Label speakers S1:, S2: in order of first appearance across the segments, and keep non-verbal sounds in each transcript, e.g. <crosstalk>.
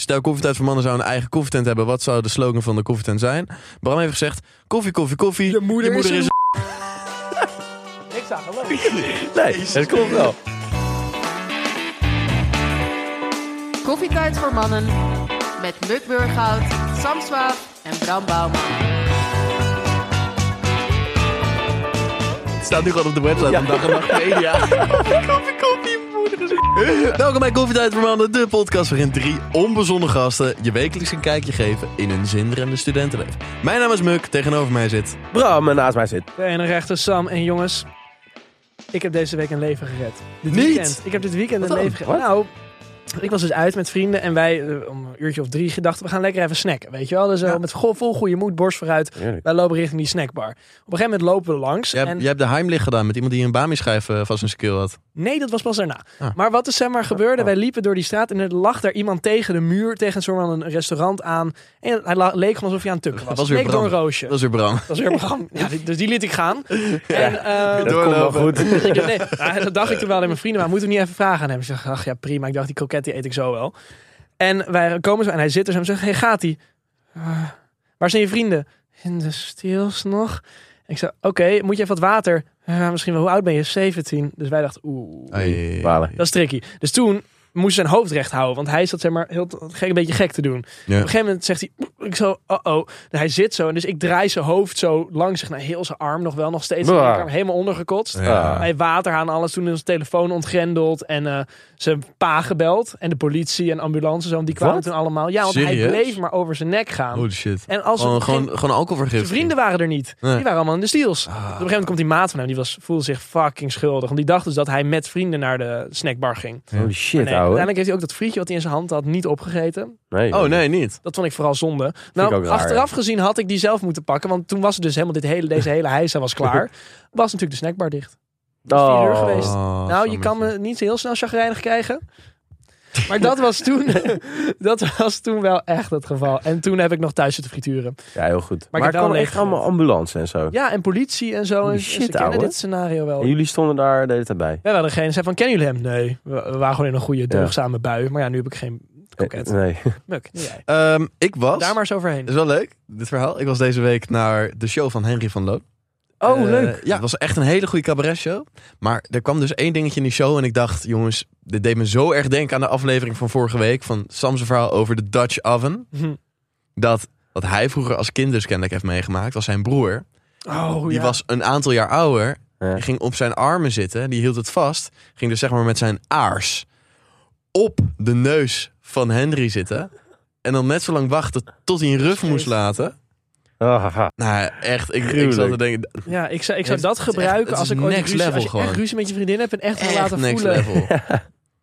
S1: Stel, Koffietijd voor Mannen zou een eigen koffietent hebben. Wat zou de slogan van de koffietent zijn? Bram heeft gezegd, koffie, koffie, koffie.
S2: Je moeder
S1: is
S2: is
S1: <laughs>
S2: Niks aan geloof.
S1: een- Nee, dat klopt wel.
S3: Koffietijd voor mannen met Muk Burghout, Sam Swaap en Bram Bouwman.
S1: Het staat nu gewoon op de website van Dag en Nacht Media. <laughs> koffie, koffie, moeder is een- <laughs> Welkom bij Koffietijd voor Mannen, de podcast waarin drie onbezonnen gasten je wekelijks een kijkje geven in een zinderende studentenleven. Mijn naam is Muk, tegenover mij zit...
S4: Bram en naast mij zit.
S2: De ene rechter, Sam en jongens. Ik heb deze week een leven gered. Dit
S1: Niet?
S2: Weekend. Ik heb dit weekend een
S1: dan?
S2: leven gered. Nou, ik was dus uit met vrienden en wij eh, om een uurtje of drie gedachten, we gaan lekker even snacken. Weet je wel? Dus eh, met go- vol goede moed, borst vooruit. Wij lopen richting die snackbar. Op een gegeven moment lopen we langs.
S1: Jij,
S2: en
S1: jij hebt de Heimlich gedaan met iemand die een Bami-schijf eh, vast in zijn keel had.
S2: Nee, dat was pas daarna.
S1: Ah. Oh.
S2: Maar wat er zeg maar gebeurde, wij liepen door die straat en er lag daar iemand tegen de muur, tegen een soort van een restaurant aan. En hij la- leek gewoon alsof hij aan het tukken was.
S1: Dat was weer
S2: leek door een
S1: Bram.
S2: roosje.
S1: Dat is weer Bram.
S2: Dat was weer Bram. Ja, die- dus die liet ik
S1: <laughs>
S2: gaan. En, eh,
S4: Dat komt wel goed.
S2: <laughs> ik dacht, nee, nou, dat dacht ik toen wel in mijn vrienden, maar moeten we niet even vragen aan hem? Ik zeg, ach ja, prima. Ik dacht, die kroket die eet ik zo wel. En wij komen zo en hij zit er zo en zegt, hey, gaat hij? waar zijn je vrienden? In de stils nog. Ik zei, oké, moet je even wat water? "Eh, misschien wel, hoe oud ben je? 17. Dus wij dachten, oeh.
S1: Ai.
S4: Balen.
S2: Dat is tricky. Dus toen moest hij zijn hoofd recht houden. Want hij zat zeg maar heel te- gek, een beetje gek te doen. Op een gegeven moment zegt hij, ik zo, oh-oh. En hij zit zo. En dus ik draai zijn hoofd zo langs zich. naar heel zijn arm nog wel, nog steeds.
S4: Bah.
S2: Ik heb hem helemaal ondergekotst.
S4: Ah.
S1: Ja.
S2: Hij water aan alles. Toen is zijn telefoon ontgrendeld. En eh, zijn pa gebeld. En de politie en ambulance zo. Die kwamen
S4: Wat?
S2: toen allemaal. Ja, want hij
S1: Serieus?
S2: bleef maar over zijn nek gaan.
S1: Holy shit.
S2: En als
S4: Oh,
S1: Gewoon,
S2: het geen-
S1: gewoon, gewoon alcoholvergiftiging.
S2: zijn vrienden waren er niet.
S1: Nee.
S2: Die waren allemaal in de
S4: Ah.
S2: steals. Dus op een gegeven moment komt die maat van hem. Die was, voelde zich fucking schuldig. Want die dacht dus dat hij met vrienden naar de snackbar ging.
S4: Holy shit, ouwe.
S2: Nee, uiteindelijk heeft hij ook dat frietje wat hij in zijn hand had niet opgegeten.
S4: Nee.
S1: Oh nee, niet.
S2: Dat vond ik vooral zonde.
S4: ik
S2: Nou,
S4: ook raar,
S2: achteraf gezien had ik die zelf moeten pakken. Want toen was het dus helemaal dit hele, deze hele heisa
S4: <laughs>
S2: was klaar. Was natuurlijk de snackbar dicht.
S4: Oh.
S2: vier uur geweest.
S1: Oh,
S2: nou, je
S1: Sammetje.
S2: kan me niet zo heel snel chagrijnig krijgen. Maar dat was, toen,
S4: <laughs>
S2: dat was toen wel echt het geval. En toen heb ik nog thuis zitten frituren.
S4: Ja, heel goed.
S2: heb
S4: Maar, ik
S2: wel
S4: kwam
S2: een
S4: echt
S2: leeg
S4: allemaal ambulance en zo.
S2: Ja, en politie en zo.
S4: Holy
S2: En,
S4: shit,
S2: ze kennen
S4: ouwe.
S2: dit scenario wel.
S4: En jullie stonden daar de hele tijd bij.
S2: Wij waren degene, zei van, kennen jullie hem? Nee, we, we waren gewoon in een goede,
S4: Ja.
S2: deugzame bui. Maar ja, nu heb ik geen
S4: Eh,
S2: koket.
S4: Nee.
S2: Muk, nu jij.
S1: Ehm, ik was. Dus-
S2: Daar maar eens overheen.
S1: Dat is wel leuk, dit verhaal. Ik was deze week naar de show van Henry van Loon.
S4: Oh,
S1: Eh,
S4: leuk.
S1: Ja, het was echt een hele goede cabaret-show. Maar er kwam dus één dingetje in die show. En ik dacht, jongens, dit deed me zo erg denken aan de aflevering van vorige week. Van Sam's verhaal over de Dutch Oven.
S2: Hm.
S1: Dat wat hij vroeger als kind dus kennelijk heeft meegemaakt, was zijn broer.
S2: Oh,
S1: die
S2: ja.
S1: was een aantal jaar ouder.
S4: Ja.
S1: Die ging op zijn armen zitten. Die hield het vast. Ging dus zeg maar met zijn aars op de neus van Henry zitten. En dan net zo lang wachten tot hij een rug moest laten.
S4: Ah, haha.
S1: Nou, echt. Ik, ik
S4: Gruwelijk.
S1: zat te denken,
S2: Ja, ik zou, ik zou
S1: Het is
S2: dat
S1: echt-
S2: gebruiken
S1: het
S2: als
S1: is
S2: ik ooit
S1: next
S2: ruzie,
S1: level
S2: als je echt
S1: gewoon.
S2: ruzie met je vriendin hebt en echt wil
S1: echt
S2: laten
S1: next
S2: voelen.
S1: level.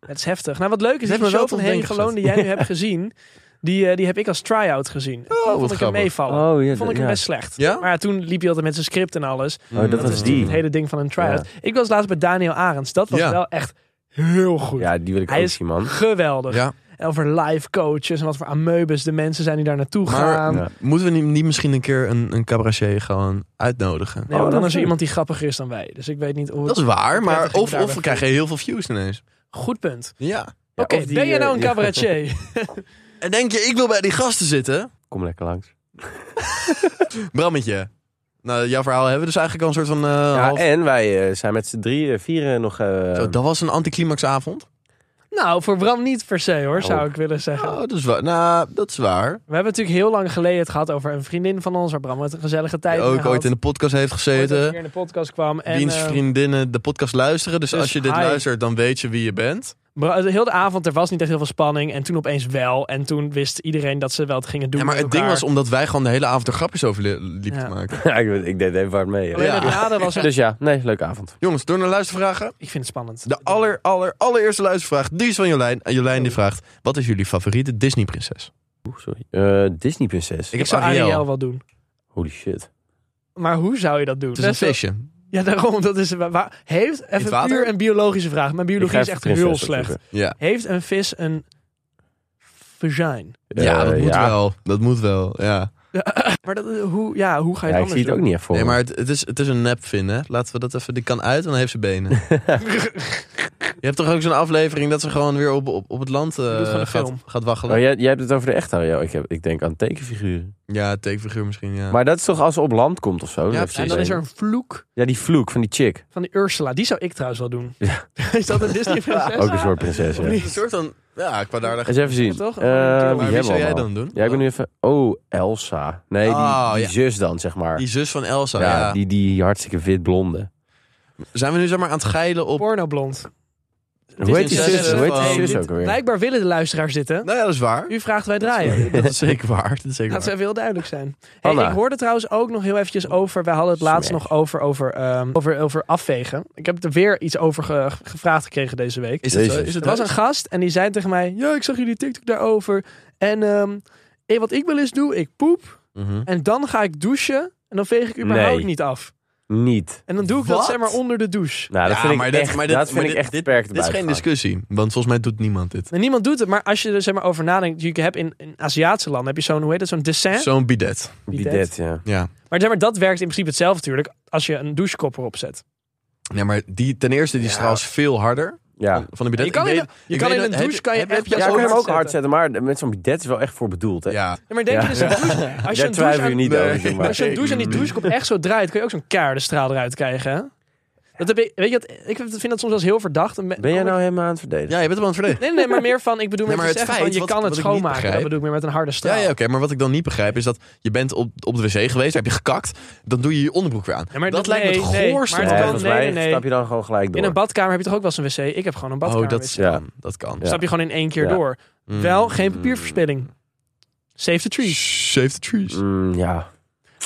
S2: Het is heftig. Nou, wat leuk is,
S1: Het heeft me
S2: die
S1: wel
S2: show
S1: tot
S2: van Henry
S1: denken
S2: Geloon die jij nu
S1: <laughs>
S2: hebt gezien, die, eh, die heb ik als try-out gezien. Oh, vond
S1: wat
S2: ik hem
S1: grappig.
S2: meevallen.
S4: Oh, ja,
S2: vond ik hem
S4: ja.
S2: best slecht.
S1: Ja?
S2: Maar ja, toen liep hij altijd met zijn script en alles.
S4: Oh, dat, was
S2: Mm, is
S4: die.
S2: Het hele ding van een try-out. Ik was laatst bij Daniel Arends. Dat was
S1: Ja.
S2: wel echt heel goed.
S4: Ja, die wil ik
S2: Hij
S4: ook
S2: is
S4: zien, man.
S2: geweldig.
S1: Ja,
S2: En over live coaches en wat voor ameubes de mensen zijn die daar naartoe
S1: maar
S2: gaan.
S4: Ja.
S1: moeten we niet, niet misschien een keer een, een cabaretier gewoon uitnodigen?
S2: Nee, want
S4: Oh,
S2: dan
S4: dat
S2: is er
S4: is
S2: iemand die grappiger is dan wij. Dus ik weet niet hoe.
S1: Dat is waar, maar
S2: prettig
S1: of,
S2: daar
S1: of we
S2: weg.
S1: krijgen heel veel views ineens.
S2: Goed punt.
S1: Ja.
S4: Ja,
S2: Oké,
S4: of die,
S2: ben je nou
S4: eh,
S2: een
S4: <laughs> ja.
S2: cabaretier?
S1: En denk je, ik wil bij die gasten zitten?
S4: Kom lekker langs.
S1: Brammetje. Nou, jouw verhaal hebben we dus eigenlijk al een soort van... eh,
S4: Ja,
S1: half-
S4: en wij eh, zijn met z'n drieën, vieren nog... eh,
S1: Zo, dat was een anticlimaxavond.
S2: Nou, voor Bram niet per se hoor, zou
S4: Oh.
S2: ik willen zeggen.
S1: Oh, dat is waar. Nou, dat is waar.
S2: We hebben natuurlijk heel lang geleden het gehad over een vriendin van ons, waar Bram het een gezellige tijd
S1: Die
S2: mee
S1: ook
S2: had.
S1: ooit in de podcast heeft
S2: Ooit een
S1: gezeten.
S2: keer in de podcast kwam. En,
S1: Wiens
S2: eh,
S1: vriendinnen de podcast luisteren. Dus,
S2: dus
S1: als je dit
S2: hi.
S1: luistert, dan weet je wie je bent.
S2: Bra- de hele avond, er was niet echt heel veel spanning. En toen opeens wel. En toen wist iedereen dat ze wel het gingen doen.
S1: Ja, maar
S2: met
S1: het ding
S2: elkaar.
S1: was omdat wij gewoon de hele avond er grapjes over li- liepen
S2: Ja.
S1: te maken.
S4: <laughs> ja, ik, weet- ik deed even hard mee. hè.
S2: Alleen
S1: Ja.
S2: het nadeel
S1: <laughs>
S2: was...
S4: Dus ja, nee, leuke avond.
S1: Jongens, door naar luistervragen.
S2: Ik vind het spannend.
S1: De aller, aller, allereerste luistervraag, die is van Jolijn. En Jolijn die vraagt, wat is jullie favoriete Disney-prinses?
S4: Oeh, sorry. Eh, Disney prinses.
S1: Ik
S2: Ik zou Ariel. wel doen.
S4: Holy shit.
S2: Maar hoe zou je dat doen?
S1: Het is een
S2: Best wel-
S1: feestje.
S2: Ja, daarom. Dat is, wa- wa- heeft,
S1: het
S2: even
S1: water?
S2: puur een biologische vraag. Mijn biologie
S4: Ik
S2: is
S4: ga
S2: echt
S4: even
S2: heel
S4: prinses
S2: slecht.
S4: opzoeken.
S1: Ja,
S2: Heeft een vis een vagina?
S1: ja
S4: Eh,
S1: dat moet
S4: ja.
S1: wel. Dat moet wel, ja.
S2: Maar dat, hoe, ja, hoe ga je
S4: Ja,
S2: het
S4: ik
S2: anders
S4: zie het ook
S2: doen?
S4: niet echt voor
S1: Nee,
S4: me.
S1: maar het, het is, het is een nepvin, hè. Laten we dat even, die kan uit en dan heeft ze benen. Je hebt toch ook zo'n aflevering dat ze gewoon weer op, op, op het land eh,
S2: doet gewoon een
S1: gaat,
S2: film.
S1: gaat waggelen?
S4: Oh, jij, jij hebt het over de echte. Ja, ik, heb, ik denk aan tekenfiguren.
S1: Ja, tekenfiguur misschien, ja.
S4: Maar dat is toch als ze op land komt of zo?
S1: Ja,
S4: heeft ze
S2: En dan is er
S4: zijn.
S2: een vloek
S4: Ja, die vloek van die chick.
S2: van de Ursula. Die zou ik trouwens wel doen. <laughs> is dat een Disney-prinses?
S4: <laughs> Ook een soort prinses.
S1: Het
S4: Ja.
S1: is een soort van... Ja, ik wou daar... echt-
S4: Eens even zien.
S2: Toch?
S4: Eh,
S2: Maar
S1: Maar
S4: hebben
S1: wie
S4: we
S1: zou jij
S4: allemaal?
S1: dan doen?
S4: Ja, ik ben nu even... Oh, Elsa. Nee, die,
S1: Oh,
S4: die
S1: ja.
S4: zus dan, zeg maar.
S1: Die zus van Elsa, ja.
S4: ja, Die, die hartstikke wit blonde.
S1: Zijn we nu zeg maar aan het geilen op...
S2: Pornoblond.
S4: Hoe heet die
S1: prinses
S4: zus, hoe heet
S1: van-
S4: die zus
S2: dit-
S4: ook alweer?
S2: Blijkbaar willen de luisteraars zitten.
S1: Nou ja, dat is waar.
S2: U vraagt wij <laughs>
S1: <laughs>
S2: draaien.
S1: Dat is zeker waar. Dat is zeker
S2: Laat ze
S1: waar.
S2: even heel duidelijk zijn. Hey,
S4: Anna.
S2: ik hoorde trouwens ook nog heel eventjes over. Wij hadden het laatst
S4: Smash.
S2: nog over, over, ehm, over, over afvegen. Ik heb er weer iets over ge- gevraagd gekregen deze week.
S1: Is het, zo?
S4: Jezus.
S1: is het
S2: Er was een
S1: waar?
S2: gast en die zei tegen mij: Ja, ik zag jullie TikTok daarover. En ehm, eh, wat ik wel eens doe, ik poep.
S1: Mhm.
S2: En dan ga ik douchen. En dan veeg ik überhaupt
S4: Nee.
S2: niet af.
S4: Niet.
S2: En dan doe ik dat
S1: Wat?
S2: zeg maar onder de douche.
S4: Nou, dat
S1: Ja,
S4: vind
S1: maar
S4: ik
S1: dit-
S4: echt,
S1: maar dit-
S4: dat vind
S1: maar
S4: ik
S1: dit-
S4: echt beperkt
S1: Dit is geen
S4: buitengewoon.
S1: discussie, want volgens mij doet niemand dit.
S2: En niemand doet het. Maar als je er zeg maar, over nadenkt. Je hebt in, in Aziatische landen heb je zo'n, hoe heet dat, zo'n dessin.
S1: Zo'n bidet.
S4: Bidet, ja.
S1: Ja.
S2: Maar, zeg maar dat werkt in principe hetzelfde natuurlijk. Als je een douchekop erop zet.
S1: Nee, maar die, ten eerste, die is
S4: Ja.
S1: trouwens veel harder
S4: Ja.
S1: van, van de bidet.
S2: Je kan
S1: Ik
S2: in
S1: weet-
S2: een- je
S1: ik
S2: kan
S1: weet
S2: in
S1: dat-
S2: een douche
S1: heb-
S2: kan je
S1: heb- heb
S2: echt-
S1: jij
S4: Ja,
S2: zo
S4: ik kan
S1: zo'n-
S4: hem
S2: hard
S4: ook hard
S2: zetten.
S4: zetten, maar met zo'n bidet is wel echt voor bedoeld, hè?
S1: Ja.
S2: Ja, maar denk je
S4: Ja.
S2: dus een douche.
S1: <laughs>
S2: Als je
S4: Daar
S2: een douche
S4: twijfel je
S2: aan-
S4: niet over, zeg maar.
S2: Maar <laughs> als je een douche en die douchekop echt zo draait, kun je ook zo'n kaardenstraal eruit krijgen. hè? Dat heb ik, weet je, wat, ik vind dat soms wel eens heel verdacht. En me-
S4: Ben jij
S2: kom ik-
S4: nou helemaal aan het verdedigen?
S1: Ja, je bent hem aan het verdedigen.
S2: Nee, nee, maar meer van, ik bedoel
S1: Nee,
S2: met
S1: maar
S2: te
S1: het
S2: zeggen
S1: feit,
S2: van, je
S1: wat-
S2: kan het
S1: wat ik niet
S2: schoonmaken. Dat
S1: begrijp-
S2: bedoel ik meer met een harde
S1: Ja,
S2: straal.
S1: ja oké, maar wat ik dan niet begrijp is dat je bent op, op de wc geweest, heb je gekakt, dan doe je je onderbroek weer aan.
S2: Ja, maar
S1: dat,
S2: dat-
S1: lijkt me
S2: nee,
S1: het
S2: nee,
S1: goorste.
S2: maar
S4: Nee,
S2: het
S1: man.
S2: kan-
S4: volgens mij
S2: nee, nee.
S4: stap je dan gewoon gelijk door.
S2: In een badkamer heb je toch ook wel eens een wc? Ik heb gewoon een badkamer.
S1: oh, dat is,
S4: Ja.
S1: kan. Dat kan.
S4: Ja.
S2: Stap je gewoon in één keer
S4: Ja.
S2: door.
S1: Mm.
S2: Wel geen papierverspilling. Save the trees.
S1: Shave the trees.
S4: Mm, ja,
S2: Maar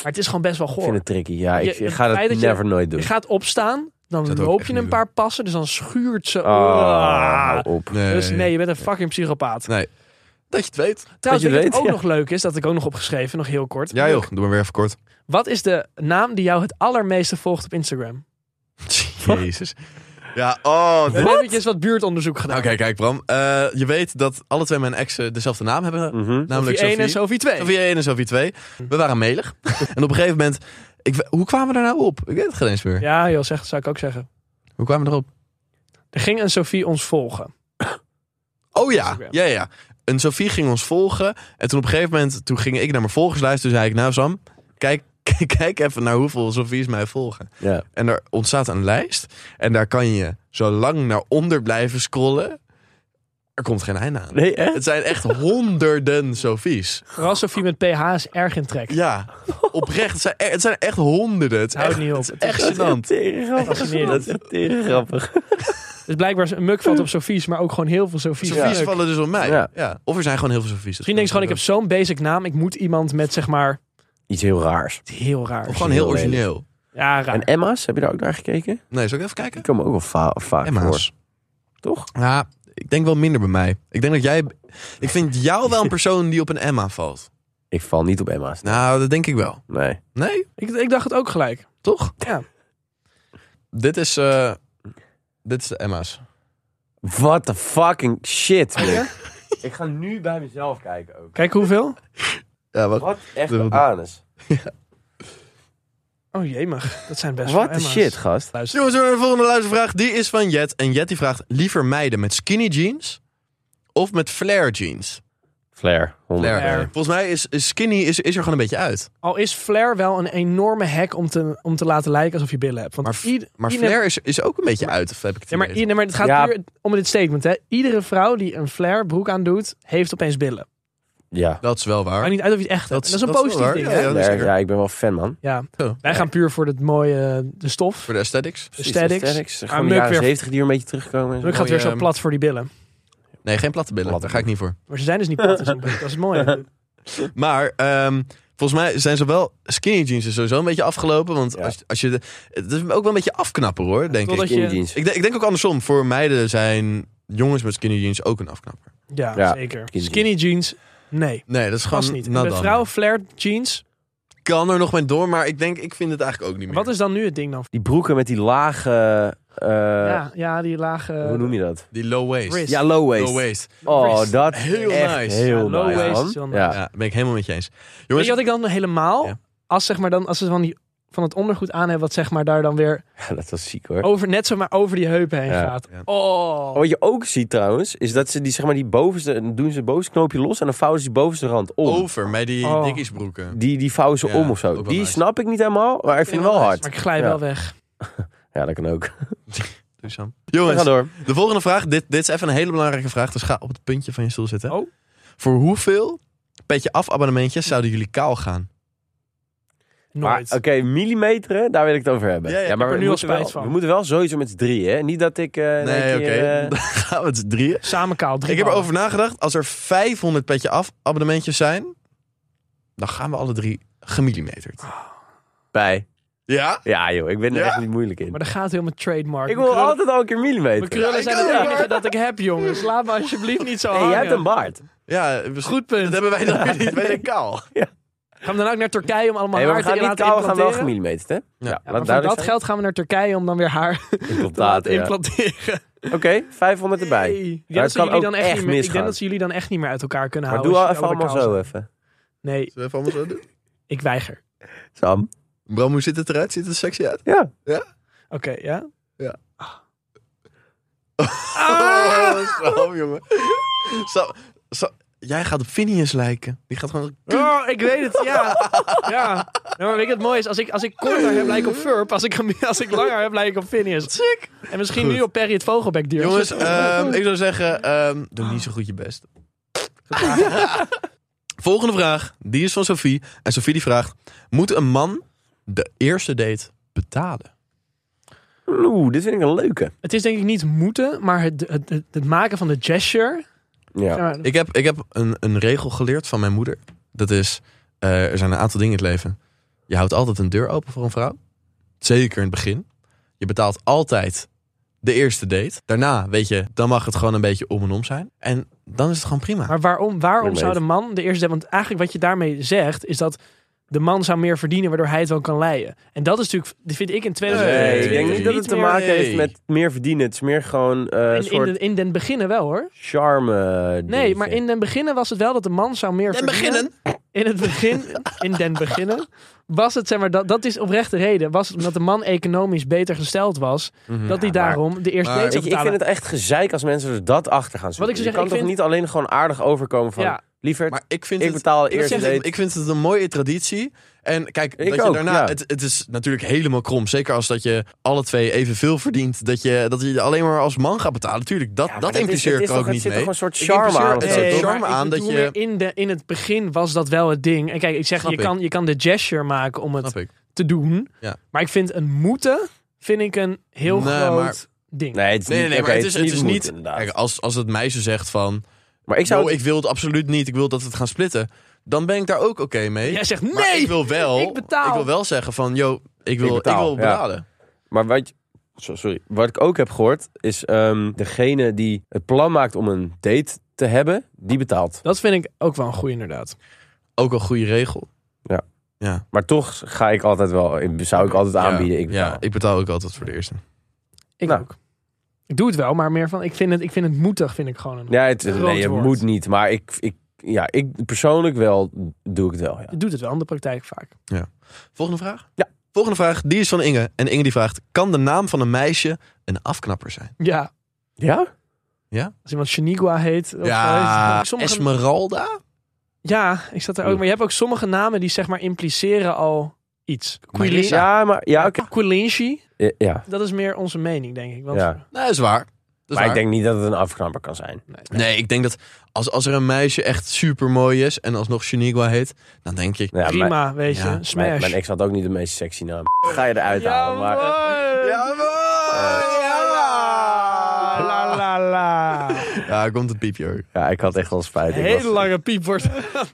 S2: het is gewoon best wel
S4: ik vind
S2: goor.
S4: het tricky. Ja, ik,
S2: Je-
S4: ik ga
S2: het
S4: dat
S2: feit dat je-
S4: never nooit doen.
S2: Je gaat opstaan, dan
S1: Zou het ook
S2: loop
S1: echt
S2: je
S1: niet
S2: een paar passen, dus dan schuurt ze.
S4: Oh, hou op.
S1: Nee.
S2: Dus nee, je bent een fucking psychopaat.
S1: Dat je het weet.
S2: Trouwens,
S4: Dat je
S2: weet je wat
S4: Nou, weet,
S2: ook
S4: ja.
S2: nog leuk is, dat ik ook nog opgeschreven, nog heel kort.
S1: Ja joh, doe maar weer even kort.
S2: Wat is de naam die jou het allermeeste volgt op Instagram?
S1: <laughs> Jezus. Ja, oh.
S2: We
S1: dit-
S2: hebben eventjes wat buurtonderzoek gedaan.
S1: Oké, kijk Bram. Eh, je weet dat alle twee mijn exen dezelfde naam hebben.
S2: Mm.
S4: Mhm.
S1: Namelijk
S2: Sophie
S1: Sophie.
S2: 1 en Mm. Sophie 2.
S1: Sophie 1 en Sophie 2. We waren
S2: <laughs>
S1: melig. en op een gegeven moment... Ik, we- hoe kwamen we daar nou op? Ik weet het geen eens meer.
S2: Ja, joh, zeg, zou ik ook zeggen.
S1: Hoe kwamen we erop?
S2: Er ging een Sophie ons volgen.
S1: Oh ja,
S2: Instagram.
S1: ja, ja. En Sophie ging ons volgen. En toen op een gegeven moment, toen ging ik naar mijn volgerslijst. Toen zei ik, nou Sam, kijk, <laughs> kijk even naar hoeveel Sophie's mij volgen.
S4: Ja.
S1: En er ontstaat een lijst. En daar kan je zo lang naar onder blijven scrollen. Er komt geen einde aan.
S4: Nee, echt?
S1: Het zijn
S2: <laughs>
S1: echt honderden Sophie's.
S2: Vooral Sophie met PH is erg in trek.
S1: Ja,
S2: <laughs>
S1: oprecht. Het zijn, e- het zijn echt honderden. Het is
S2: Houdt
S1: echt,
S2: niet op.
S1: het is
S2: <laughs>
S1: echt
S4: <laughs>
S1: gênant.
S4: grappig.
S2: Fascinerend.
S4: Dat is echt grappig.
S2: Dus blijkbaar is een muk valt op Sophie's, maar ook gewoon heel veel Sophie's.
S1: Sophie's
S2: Leuk.
S1: vallen dus op mij. Ja.
S4: Ja.
S1: Of er zijn gewoon heel veel Sophie's.
S2: Misschien denk je gewoon, ik heb zo'n basic naam, ik moet iemand met zeg maar
S4: Iets heel raars.
S2: iets heel raar.
S1: Of gewoon heel
S4: Heel lelijk.
S1: origineel.
S2: Ja, raar.
S4: En Emma's, heb je daar ook naar gekeken?
S1: Nee, zal ik even kijken?
S4: Die komen ook wel va- vaak
S1: Emma's.
S4: voor. Toch?
S1: Ja, ik denk wel minder bij mij. Ik denk dat jij. Ik vind jou wel een persoon die op een Emma valt.
S4: Ik val niet op Emma's.
S1: Nou, dat denk ik wel.
S4: Nee.
S1: Nee,
S2: Ik, ik dacht het ook gelijk.
S1: toch?
S2: Ja.
S1: Dit is. eh, dit is de Emma's.
S4: What the fucking shit, man. <laughs> Ik ga nu bij mezelf kijken ook.
S2: Kijk hoeveel?
S1: Ja, wat?
S4: Wat echt
S1: een
S4: anus.
S2: Oh jee, mag. Dat zijn best wel
S4: Wat de
S2: Emma's.
S4: shit, gast.
S2: Luister.
S1: Jongens, we hebben de volgende luistervraag. Die is van Jet. En Jet die vraagt: liever meiden met skinny jeans of met flare jeans?
S4: Flair.
S1: Flare.
S2: Flare.
S1: Volgens mij is is skinny is, is er gewoon een beetje uit.
S2: Al is flair wel een enorme hack om te, om te laten lijken alsof je billen hebt. Want
S1: Maar, f-
S2: ieder-
S1: maar
S2: ieder-
S1: flare is, is ook een beetje uit. Of heb ik het
S2: Ja, maar,
S1: idee?
S2: ieder- maar het gaat
S4: Ja.
S2: puur om dit statement. Hè. Iedere vrouw die een flare broek aan doet, heeft opeens billen.
S4: Ja.
S1: Dat is wel
S2: Maar
S1: waar.
S2: niet uit of je het echt
S1: Dat
S2: hebt.
S1: is-
S2: En Dat is een
S1: dat is wel
S2: positief ding.
S1: waar,
S2: hè?
S1: ja,
S4: Flair,
S1: zeker.
S4: Ja, ik ben wel fan, man.
S2: Ja.
S1: Zo.
S2: Wij gaan puur voor het mooie, eh, de stof.
S1: Oh. Voor de aesthetics?
S2: De aesthetics. Ah,
S4: Gewoon de
S2: Muk
S4: jaren
S2: weer-
S4: 70 die weer een beetje terugkomen. en zo.
S2: Druk gaat weer
S1: mooie,
S2: zo plat voor die billen.
S1: Nee, geen platte billen.
S4: Platte
S1: Daar ga ik niet voor.
S2: Maar ze zijn dus niet plat. in zo'n broek. Dat is mooi.
S1: <laughs> Maar ehm, volgens mij zijn zowel skinny jeans is sowieso een beetje afgelopen. Want
S4: Ja.
S1: als, als je. de- Het is ook wel een beetje afknappen hoor, denk ik.
S2: Totdat
S4: Skinny
S2: je...
S4: jeans.
S1: ik. denk- Ik denk ook andersom. Voor meiden zijn jongens met skinny jeans ook een afknapper.
S2: Ja,
S4: Ja,
S2: zeker.
S4: skinny
S2: Skinny jeans, nee.
S1: Nee, dat is
S2: Gast
S1: gewoon
S2: niet. En
S1: nat
S2: Met
S1: dan.
S2: vrouw flare jeans.
S1: kan er nog mee door, maar ik denk, ik vind het eigenlijk ook niet meer.
S2: Wat is dan nu het ding dan?
S4: Die broeken met die lage... eh,
S2: ja, ja, die eh, lage...
S4: Hoe noem je dat?
S1: Die low waist.
S2: Wrist.
S4: Ja, low waist.
S1: Low waist.
S4: Oh,
S2: Wrist.
S4: dat is
S1: Heel
S4: echt
S1: nice.
S4: heel
S2: Ja, low
S4: nice,
S2: waist
S4: man.
S2: is heel nice.
S4: Ja.
S1: Ja, ben ik helemaal met je eens.
S2: Weet je
S1: Jongens,
S2: wat ik dan helemaal...
S1: Ja.
S2: Als zeg maar dan, als ze van die van het ondergoed aan hebben, wat zeg maar daar dan weer
S4: Ja, <laughs> dat was ziek
S1: Oh.
S4: hoor.
S2: over, net zomaar over die heupen heen
S4: Ja.
S2: gaat.
S1: Ja.
S2: Oh.
S4: Wat je ook ziet trouwens, is dat ze die, zeg maar, die bovenste, doen ze het bovenste knoopje los en dan vouwen ze die bovenste rand om.
S1: Over met die
S2: Oh.
S1: dikkiesbroeken.
S4: Die, die vouwen ze
S1: Ja,
S4: om of
S1: ook
S4: zo.
S1: wel
S4: Die
S1: nice.
S4: snap ik niet helemaal, maar ik vind het wel hard.
S2: Maar ik glij
S4: Ja.
S2: wel weg.
S4: Ja, dat kan ook.
S1: Doe Sam.
S4: We gaan
S1: Jongens,
S4: door.
S1: de volgende vraag. Dit, dit is even een hele belangrijke vraag, dus ga op het puntje van je stoel zitten.
S2: Oh.
S1: Voor hoeveel petje af abonnementjes zouden jullie kaal gaan?
S4: Maar
S2: Nooit.
S4: Oké, millimeteren, daar wil ik het over hebben.
S1: Ja, ja, ik
S4: maar
S2: heb er
S4: we,
S2: nu al
S4: moeten wel,
S2: spijt van.
S4: we moeten wel sowieso met z'n drieën. hè? Niet dat ik... eh, in
S1: nee,
S4: één
S1: oké.
S4: keer, eh,
S1: <laughs> Dan gaan we het z'n drieën.
S2: Samen kaal drie
S1: Ik heb
S2: ballen.
S1: erover nagedacht. Als er 500 petje af abonnementjes zijn, dan gaan we alle drie gemillimeterd.
S4: Ah. bij.
S1: Ja?
S4: Ja joh, ik ben er
S1: Ja?
S4: echt niet moeilijk in.
S2: Maar dat gaat heel mijn trademark.
S4: Ik
S2: Mijn
S4: wil
S2: krullen-
S4: altijd al een keer
S2: Mijn
S4: millimeter.
S2: krullen
S1: Ja, ik
S2: zijn het
S1: ook, hoor.
S2: enige dat ik heb, jongens. Laat me alsjeblieft niet zo
S4: Hey,
S2: hangen.
S4: jij hebt een baard.
S1: Ja, eh,
S2: Goed
S1: Dat
S2: punt.
S1: hebben wij dan weer
S4: <laughs>
S1: niet. Wij zijn kaal.
S2: Gaan we dan ook naar Turkije om allemaal
S4: Hey, maar we
S2: haar
S4: gaan
S2: te
S4: niet
S2: laten
S4: kauwen, we gaan wel
S2: implanteren?
S4: gemillimeterd, hè?
S1: Ja,
S2: Ja, maar van dat geld gaan we naar Turkije om dan weer haar <laughs> te laten
S4: Implantaten, <laughs> ja.
S2: implanteren.
S4: Oké, 500 erbij.
S2: Hey. Ik denk
S4: Maar
S2: dat
S4: het
S2: ze
S4: kan
S2: jullie
S4: ook
S2: dan echt
S4: echt
S2: niet meer- Ik denk
S4: misgaan.
S2: dat ze nou jullie dan echt niet meer uit elkaar kunnen
S4: Maar doe
S2: houden.
S4: al
S2: als
S4: even
S2: jullie
S4: allemaal
S2: allebei
S4: zo
S2: kaal
S4: even.
S2: zijn. Nee,
S1: Zullen we even allemaal zo doen?
S2: ik weiger.
S4: Sam.
S1: Bram, hoe ziet het eruit? Ziet het er sexy uit?
S4: Ja.
S2: Oké, ja?
S4: Ah.
S1: <laughs> Oh, Sam, jongen. Sam, Sam, jij gaat op Phineas lijken. Die gaat gewoon...
S2: Oh, ik weet het, <laughs> ja. ja. Ja, maar weet je wat mooi is? Als ik, als ik kort haar heb, lijk ik op Furp. Als ik, als ik langer heb, lijk ik op Phineas.
S1: Sick.
S2: En misschien
S1: Goed.
S2: nu op Perry het vogelbek duurt.
S1: <laughs> Jongens, ehm, ik zou zeggen, ehm, doe niet zo goed je best. <laughs> Volgende vraag, die is van Sophie. En Sophie die vraagt, moet een man de eerste date betalen?
S4: Oeh, dit vind ik een leuke.
S2: Het is denk ik niet moeten, maar het, het, het, het maken van de gesture.
S4: Ja.
S2: Ja.
S1: Ik heb, ik heb een, een regel geleerd van mijn moeder. Dat is, eh, er zijn een aantal dingen in het leven. Je houdt altijd een deur open voor een vrouw. Zeker in het begin. Je betaalt altijd de eerste date. Daarna, weet je, dan mag het gewoon een beetje om en om zijn. En dan is het gewoon prima.
S2: Maar waarom, waarom
S4: Daarmee.
S2: zou de man de eerste... Want eigenlijk wat je daarmee zegt, is dat de man zou meer verdienen... waardoor hij het wel kan leiden. En dat is natuurlijk, dat vind ik in
S4: Nee,
S2: 2022...
S4: Eh, ik denk niet dat het te
S2: meer-
S4: maken heeft
S1: Nee.
S4: met meer verdienen. Het is meer gewoon eh,
S2: In,
S4: een
S2: in,
S4: soort
S2: de- in den beginnen wel, hoor.
S4: charme.
S2: Nee,
S4: dingetje.
S2: maar in den beginnen was het wel dat de man zou meer
S1: En
S2: verdienen.
S1: beginnen.
S2: In het begin, in den beginnen, was het, zeg maar, dat, dat is oprechte reden. Was het omdat de man economisch beter gesteld was, dat hij
S4: Ja, maar-
S2: daarom de eerste
S1: Mhm. maar-
S2: date
S4: Weet
S2: zou
S4: je, ik vind
S2: betalen.
S4: het echt gezeik als mensen er dat achter gaan zoeken.
S2: Wat
S4: je
S2: ik zou zeggen,
S4: kan
S2: ik
S4: toch
S2: vind-
S4: niet alleen gewoon aardig overkomen van...
S2: Ja.
S4: Lieverd,
S1: Maar ik vind
S4: ik
S1: het...
S4: betaal de
S1: Ik
S4: eerste
S1: vind,
S4: date.
S1: het, ik vind het een mooie traditie. En kijk,
S4: Ik
S1: dat je
S4: ook,
S1: daarna,
S4: ja.
S1: het, het is natuurlijk helemaal krom. Zeker als dat je alle twee evenveel verdient. Dat je, dat je alleen maar als man gaat betalen. Tuurlijk, dat,
S4: Ja, maar
S1: dat,
S4: is-
S1: impliceert
S4: het is
S1: er ook
S4: toch-
S1: niet
S4: Er
S1: mee.
S4: zit toch een soort
S1: Ik impliceer-
S4: charme aan. of
S1: het
S4: zo,
S1: zit
S4: toch?
S1: charme
S2: Eh, maar ik
S1: aan dat
S2: bedoel
S1: je-
S2: meer In, de, in het begin was dat wel het ding. En kijk, ik zeg,
S1: Snap
S2: je
S1: ik.
S2: kan, je kan de gesture maken om het
S1: Snap ik.
S2: te doen.
S1: Ja.
S2: Maar ik vind een moeten, vind ik een heel
S1: Nee,
S2: groot
S1: maar-
S2: ding.
S4: Nee, het is
S1: Nee, nee,
S4: niet,
S1: nee,
S4: oké,
S1: maar het is, het is
S4: moet,
S1: niet.
S4: inderdaad.
S1: Kijk, als, als het meisje zegt van.
S4: maar ik
S1: Ik,
S4: zou...
S1: ik wil het absoluut niet, ik wil dat we het gaan splitten. Dan ben ik daar ook oké mee.
S2: Jij zegt
S1: Maar
S2: nee!
S1: ik wil wel.
S2: ik betaal.
S1: Ik wil wel zeggen van, yo, ik wil, ik
S4: betaal,
S1: wil
S4: ja.
S1: betalen.
S4: Maar wat, zo- sorry, wat ik ook heb gehoord is ehm, degene die het plan maakt om een date te hebben, die betaalt.
S2: Dat vind ik ook wel een goeie inderdaad.
S1: Ook een goede regel.
S4: Ja.
S1: Ja.
S4: Maar toch ga ik altijd wel, ik- zou ik altijd aanbieden. ik betaal.
S1: Ja, ik betaal ook altijd voor de eerste.
S2: Ik
S4: Nou.
S2: ook. Ik doe het wel, maar meer van, ik vind het, ik vind het moedig, vind ik gewoon een...
S4: Ja, het, nee,
S2: Groot
S4: je
S2: woord.
S4: moet niet. Maar ik, ik, ja, ik persoonlijk wel, doe ik het wel. Ja.
S2: Je doet het wel in de praktijk vaak.
S1: Volgende vraag?
S4: Ja.
S1: Volgende vraag, die is van Inge. En Inge die vraagt, kan de naam van een meisje een afknapper zijn?
S2: Ja,
S4: ja?
S2: als iemand Shenigua heet. Of zo,
S1: Ja,
S2: is- sommige,
S1: Esmeralda?
S2: ja, ik zat er ook. Maar je hebt ook sommige namen die zeg maar impliceren al iets.
S1: Marissa.
S4: Ja, maar, ja, oké.
S2: Quilinci,
S4: Ja, ja.
S2: dat is meer onze mening, denk ik. Want,
S4: Ja.
S1: Nee, dat is waar. Dat is
S4: maar ik
S1: waar.
S4: denk niet dat het een afknapper kan zijn.
S1: Nee, ik denk dat als, als er een meisje echt super mooi is en alsnog Shenigua heet, dan denk ik...
S4: Ja,
S2: Prima,
S4: mijn,
S2: weet je.
S1: Ja, mijn-
S2: Smash.
S4: mijn, mijn ex had ook niet de meest sexy naam. Ga je eruit halen. Maar,
S1: Ja,
S2: La la la.
S1: Ja, komt het piepje hoor.
S4: ja, ik had echt wel spijt. Ik
S2: Hele
S4: was-
S2: lange piep wordt.
S4: <laughs>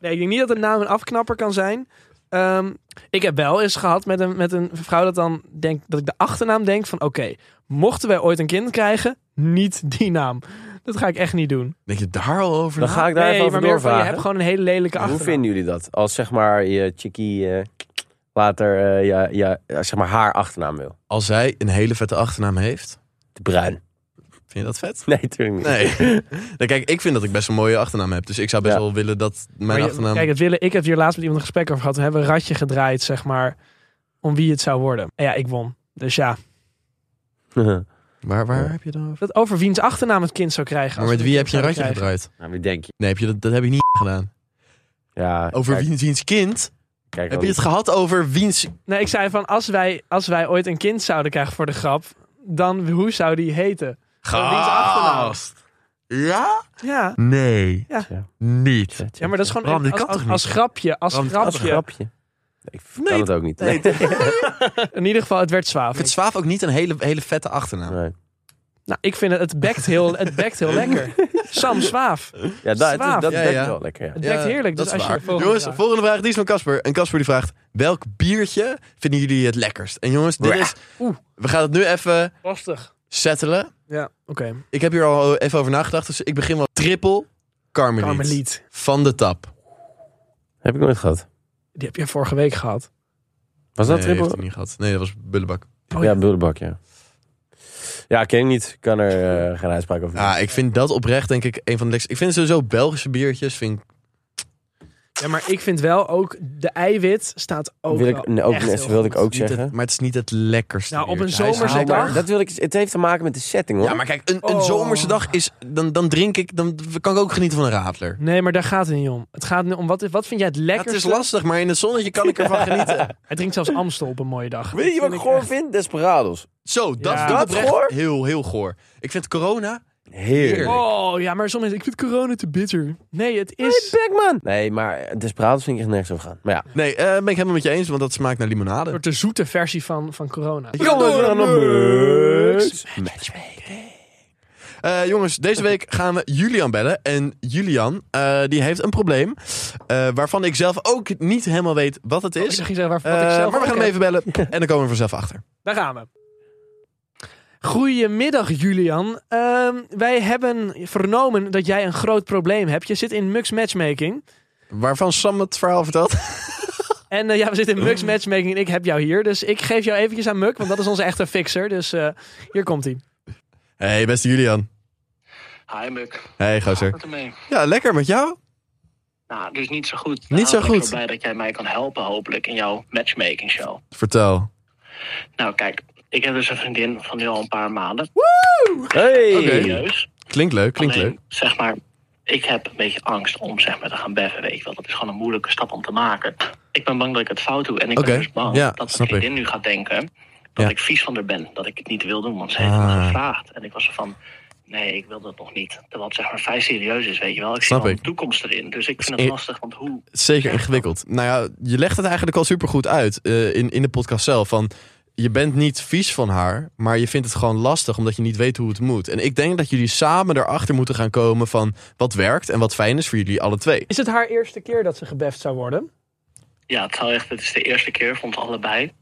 S2: Nee, ik denk niet dat de naam een afknapper kan zijn. Ehm, ik heb wel eens gehad met een, met een vrouw dat dan denk dat ik de achternaam denk van oké, mochten wij ooit een kind krijgen, niet die naam. Dat ga ik echt niet doen.
S1: Denk je daar al over
S4: Dan
S1: na?
S4: ga ik daar even
S2: nee,
S4: over
S2: maar meer van, je
S4: doorvragen.
S2: hebt gewoon een hele lelijke
S4: Hoe
S2: achternaam.
S4: vinden jullie dat? Als zeg maar je chickie eh, later eh, ja, ja, ja, zeg maar haar achternaam wil.
S1: Als zij een hele vette achternaam heeft,
S4: De Bruin. <laughs>
S1: Vind je dat vet?
S4: Nee, natuurlijk niet.
S1: Nee. <laughs> Nou, kijk, ik vind dat ik best een mooie achternaam heb. Dus ik zou best
S4: Ja.
S1: wel willen dat
S2: Maar
S1: mijn
S2: je-
S1: achternaam...
S2: Kijk, het willen, ik heb hier laatst met iemand een gesprek over gehad. We hebben een ratje gedraaid, zeg maar, om wie het zou worden. En ja, ik won. Dus ja,
S4: <laughs>
S1: Waar, waar
S4: Ja.
S1: heb je dan over?
S2: dat over wiens achternaam het kind zou krijgen.
S1: Maar
S2: als
S1: met
S2: we
S1: wie
S2: het
S1: heb je een
S2: kind
S1: ratje
S2: zouden krijgen.
S1: gedraaid?
S4: Nou, wie denk je?
S1: Nee, heb je dat, dat heb ik niet gedaan.
S4: Ja,
S1: Over
S4: kijk,
S1: wiens, wiens kind?
S4: Kijk,
S1: Heb je het gehad over wiens...
S2: Nee, ik zei van, als wij, als wij ooit een kind zouden krijgen voor de grap, dan hoe zou die heten? Van wiens achternaam?
S1: Gast! Ja?
S2: Ja,
S1: Nee.
S2: Ja.
S4: Ja.
S1: Niet.
S2: ja maar dat is gewoon
S1: Bram, dit
S2: als,
S1: kan
S2: als,
S1: toch niet?
S2: als grapje. Als
S1: Bram, dit kan
S4: Als een
S2: grapje.
S4: grapje. Ik kan
S1: Nee,
S4: het ook niet. <laughs>
S1: nee.
S2: In ieder geval, het werd zwaar.
S1: Ik vind Zwaaf ook niet een hele, hele vette achternaam.
S4: Nee.
S2: Nou, ik vind het, het bekt heel, het bekt heel
S4: <laughs>
S2: lekker. Sam Zwaaf.
S4: Ja, dat,
S2: Zwaaf.
S4: dat, dat
S1: Ja,
S4: werkt
S1: ja.
S4: wel lekker. Ja.
S2: Het bekt heerlijk.
S1: dat
S2: Dus
S1: is
S2: als je
S1: waar.
S2: de volgende
S1: jongens,
S2: vraag-
S1: volgende vraag die is van Casper. En Casper die vraagt, welk biertje vinden jullie het lekkerst? En jongens, dit
S4: Bra.
S1: is...
S2: Oeh.
S1: We gaan het nu even
S2: Lastig.
S1: settelen.
S2: Ja, oké.
S1: Ik heb hier al even over nagedacht, dus ik begin wel triple Carmeliet.
S2: Carmeliet.
S1: Van de tap.
S4: Heb ik nooit gehad.
S2: Die heb je vorige week gehad.
S4: Was dat
S1: nee, heeft
S4: triple?
S1: hij niet gehad. Nee, dat was Bullebak.
S2: Oh,
S4: ja,
S2: ja.
S4: Boerenbak, ja. Ja, ken ik niet. Ik kan er eh, geen uitspraak over doen.
S1: Ah, ik vind dat oprecht, denk ik, een van de lekkerste. Ik vind sowieso Belgische biertjes, vind ik...
S2: Ja, maar ik vind wel ook, de eiwit staat ook
S4: wil
S2: wel
S4: ik, nee, ook,
S2: echt
S4: nee,
S2: heel
S4: wilde ik
S2: goed.
S4: ook
S1: niet
S4: zeggen.
S1: het- maar het is niet het lekkerste
S2: Nou, op een
S1: biertje. Hij is
S2: zomerse
S1: wel
S2: dag-
S1: lekker.
S4: dat wil ik, het heeft te maken met de setting, hoor.
S1: Ja, maar kijk, een, een
S2: Oh.
S1: zomerse dag is... Dan, dan drink ik, dan kan ik ook genieten van een radler.
S2: Nee, maar daar gaat het niet om. Het gaat nu om, wat, wat vind jij het
S1: Ja, het
S2: lekkerste?
S1: is lastig, maar in het zonnetje kan ik ervan genieten.
S2: Hij drinkt zelfs Amstel op een mooie dag.
S4: Weet je wat ik
S2: Vind
S4: gewoon
S2: echt-
S4: vind? Desperados.
S1: Zo, dat
S2: Ja.
S1: vind ik
S4: Dat
S1: oprecht
S4: goor?
S1: heel, heel goor. Ik vind corona...
S4: Heerlijk.
S1: Heerlijk.
S2: Oh, ja, maar soms ik vind corona te bitter. Nee, het
S4: Hey,
S2: is...
S4: Beckman! Nee, maar Desperados vind ik echt nergens over gaan. Maar ja.
S1: Nee, eh, ben ik helemaal met je eens, want dat smaakt naar limonade.
S2: Een soort de zoete versie van, van corona.
S1: Ik kan door
S4: Door
S1: een
S4: een
S1: mux.
S4: mux.
S1: Eh, jongens, deze week gaan we Julian bellen. En Julian, eh, die heeft een probleem. eh, waarvan ik zelf ook niet helemaal weet wat het
S2: Oh, ik
S1: is.
S2: dacht, je zei waar, wat
S1: Eh,
S2: ik zelf
S1: maar we
S2: ook
S1: gaan hem
S2: heb.
S1: even bellen.
S2: <laughs>
S1: En dan komen we er vanzelf achter.
S2: Daar gaan we. Goedemiddag Julian. Ehm, wij hebben vernomen dat jij een groot probleem hebt. Je zit in Mux Matchmaking.
S1: Waarvan Sam het verhaal vertelt.
S2: En eh, ja, we zitten in Mux Matchmaking en ik heb jou hier. Dus ik geef jou eventjes aan Muk, want dat is onze echte fixer. Dus eh, hier komt hij.
S1: Hey, beste Julian.
S5: Hi Muk,
S1: Hey, gozer.
S5: wat ermee?
S1: Ja, lekker met jou?
S5: Nou, dus niet zo goed.
S1: Niet zo
S5: Nou, Ik
S1: goed.
S5: ben blij dat jij mij kan helpen, hopelijk, in jouw matchmaking show.
S1: Vertel.
S5: Nou, kijk, ik heb dus een vriendin van nu al een paar maanden.
S4: Hey!
S5: Serieus.
S1: Klinkt leuk, klinkt
S5: Alleen,
S1: leuk.
S5: Zeg maar, ik heb een beetje angst om zeg maar, te gaan beffen, weet je wel. Dat is gewoon een moeilijke stap om te maken. Ik ben bang dat ik het fout doe. En ik
S1: Oké,
S5: ben dus bang
S1: ja,
S5: dat
S1: snap
S5: mijn
S1: ik.
S5: vriendin nu gaat denken dat
S1: Ja.
S5: ik vies van haar ben. Dat ik het niet wil doen, want ze heeft het
S1: Ah.
S5: me gevraagd. En ik was van... Nee, ik wil dat nog niet. Terwijl het zeg maar vrij serieus is, weet je wel. Ik
S1: Snap
S5: zie wel
S1: ik. Eh,
S5: een toekomst erin. Dus ik vind
S1: Is-
S5: het lastig, want hoe
S1: Zeker ingewikkeld. Nou ja, je legt het eigenlijk al supergoed uit eh, in, in de podcast zelf. Van, je bent niet vies van haar, maar je vindt het gewoon lastig omdat je niet weet hoe het moet. En ik denk dat jullie samen erachter moeten gaan komen van wat werkt en wat fijn is voor jullie alle twee.
S2: Is het haar eerste keer dat ze gebeft zou worden?
S5: Ja, het, zou echt, het is de eerste keer voor ons allebei.